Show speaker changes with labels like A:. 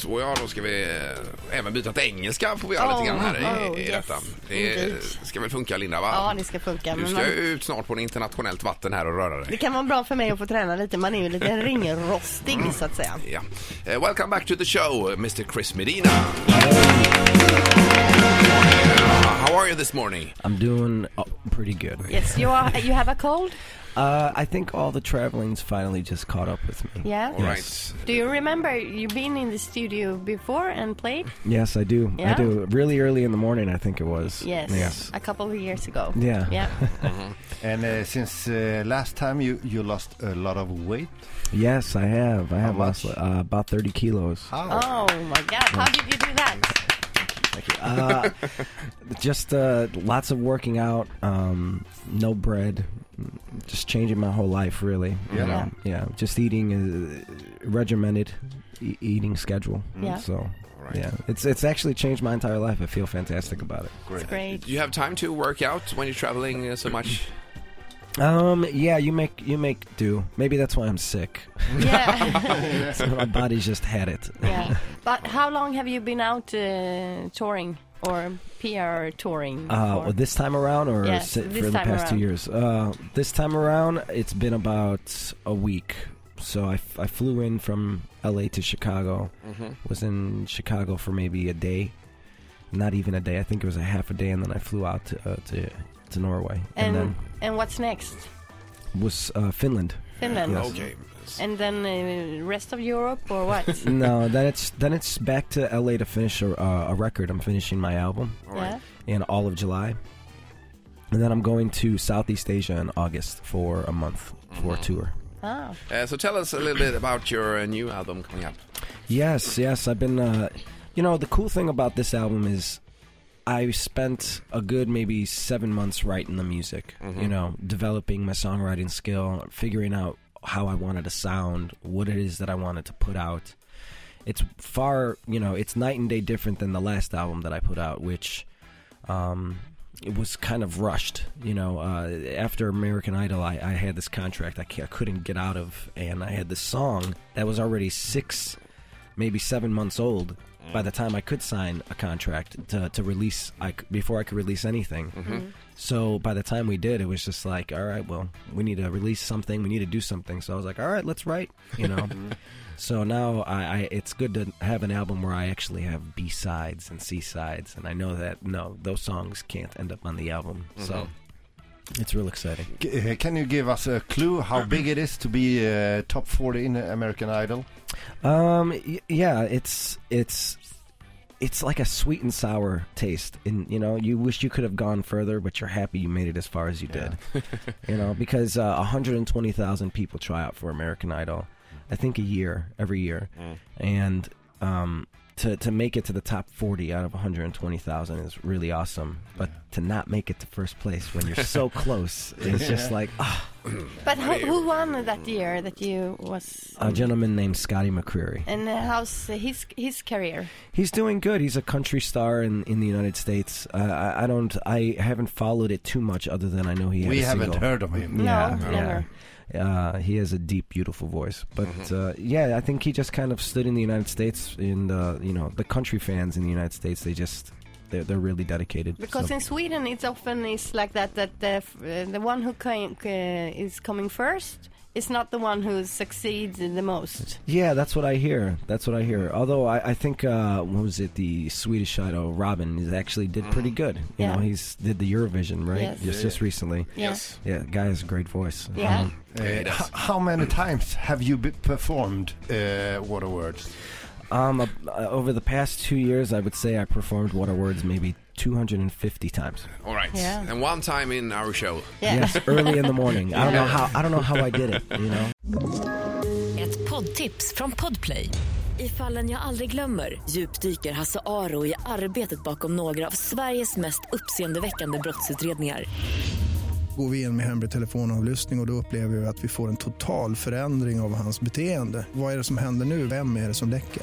A: Så ja, då ska vi eh, även byta till engelska får vi göra
B: Oh,
A: lite grann här i,
B: oh,
A: i
B: yes.
A: detta. Det eh,
B: Indeed.
A: ska väl funka Linda va?
B: Ja, det ska funka.
A: Du
B: Men
A: ska
B: man,
A: ju ut snart på en internationellt vatten här och röra
B: det
A: dig.
B: kan vara bra för mig att få träna lite. Man är ju lite ringrostig så att säga.
A: Ja. Eh, Welcome back to the show, Mr Chris Medina. How are you this morning?
C: I'm doing uh, pretty good.
B: Yes, you, are, you have a cold?
C: Uh, I think all the traveling's finally just caught up with me.
B: Yeah?
A: All
C: Yes.
A: right.
B: Do you remember you've been in the studio before and played?
C: Yes, I do.
B: Yeah?
C: I do. Really early in the morning, I think it was.
B: Yes.
C: Yes.
B: A couple of years ago.
C: Yeah.
B: Yeah.
D: And uh, since uh, last time you, you lost a lot of weight.
C: Yes, I have. I have
D: much?
C: lost uh, about 30 kilos.
D: How?
B: Oh my God, how did you do that?
C: Uh, just uh, lots of working out. Um, no bread. Just changing my whole life, really.
D: Yeah.
C: Um, yeah. Just eating a regimented e- eating schedule.
B: Yeah.
C: So.
A: Alright.
C: Yeah, it's it's actually changed my entire life. I feel fantastic about it.
D: Great.
B: Great.
A: Do you have time to work out when you're traveling uh, so much?
C: Um, yeah, you make you make do. Maybe that's why I'm sick.
B: Yeah.
C: so my body's just had it.
B: yeah. But how long have you been out uh, touring or PR touring?
C: Uh,
B: for?
C: well, this time around, or
B: Yes,
C: si-
B: this
C: for the
B: time
C: past two
B: around.
C: years? Uh, this time around, it's been about a week. So I, f- I flew in from LA to Chicago. Was in Chicago for maybe a day, not even a day. I think it was a half a day, and then I flew out to uh, to, to Norway,
B: and
C: then
B: and what's next?
C: was uh, Finland.
B: Finland.
C: Yes.
A: Okay.
B: And then uh, rest of Europe or what?
C: no, then it's then it's back to LA to finish a, uh, a record. I'm finishing my album.
A: All right.
B: yeah.
C: in all of July. And then I'm going to Southeast Asia in August for a month for a tour.
B: Ah.
A: Uh, so tell us a little bit about your uh, new album coming up.
C: Yes, yes, I've been. Uh, you know, the cool thing about this album is I spent a good maybe seven months writing the music, you know, developing my songwriting skill, figuring out how I wanted to sound, what it is that I wanted to put out. It's far, you know, it's night and day different than the last album that I put out, which um, it was kind of rushed. You know, uh, after American Idol, I, I had this contract I, ca- I couldn't get out of, and I had this song that was already six, maybe seven months old by the time I could sign a contract to, to release I, c- before I could release anything. So by the time we did, it was just like, all right, well, we need to release something, we need to do something. So I was like, all right, let's write, you know. So now I, I it's good to have an album where I actually have B sides and C sides, and I know that no, those songs can't end up on the album. So it's real exciting.
D: G- uh, can you give us a clue how big it is to be uh, top 40 in American Idol?
C: Um, y- yeah, it's it's it's like a sweet and sour taste, and you know, you wish you could have gone further, but you're happy you made it as far as you did. you know, because uh, 120,000 people try out for American Idol, I think a year, every year, and um. To, to make it to the top 40 out of 120,000 is really awesome. But to not make it to first place when you're so close is just like, ah.
B: But who, who won that year that you was? um,
C: a gentleman named Scotty McCreery.
B: And uh, how's his his career?
C: He's doing good. He's a country star in, in the United States. Uh, I, I don't. I haven't followed it too much, other than I know he. Had
D: we
C: a
D: haven't
C: single.
D: heard of him.
B: No,
C: Yeah,
B: never.
C: yeah. Uh, he has a deep, beautiful voice. But
D: Mm-hmm.
C: uh, yeah, I think he just kind of stood in the United States. In the you know the country fans in the United States, they just they're, they're really dedicated.
B: Because
C: So-
B: in Sweden, it's often is like that that the f- uh, the one who came, uh, is coming first is not the one who succeeds the most.
C: yeah, that's what I hear. That's what I hear. Although I, I think uh, what was it? The Swedish idol Robin is actually did pretty good. You
B: Mm-hmm. Yeah.
C: know, he's did the Eurovision right
B: Yes.
C: just just recently.
B: Yeah.
C: Yeah, the guy has a great voice.
B: Yeah.
C: Um,
D: Uh,
A: Mm-hmm. Yes.
D: h- how many times have you be- performed uh, Water Words?
C: um, uh, over the past two years, I would say I performed Water Words maybe 250 times.
A: All right.
B: Yeah.
A: And one time in our show.
B: Yeah.
C: Yes, early in the morning. I don't know how. I don't know how I did it. You know.
E: Ett poddtips från Podplay. I fallen jag aldrig glömmer djupdyker Hasse Aro i arbetet bakom några av Sveriges mest uppseendeväckande brottsutredningar.
F: Går vi in med hemlig telefonavlyssning och, och då upplever vi att vi får en total förändring av hans beteende. Vad är det som händer nu? Vem är det som läcker?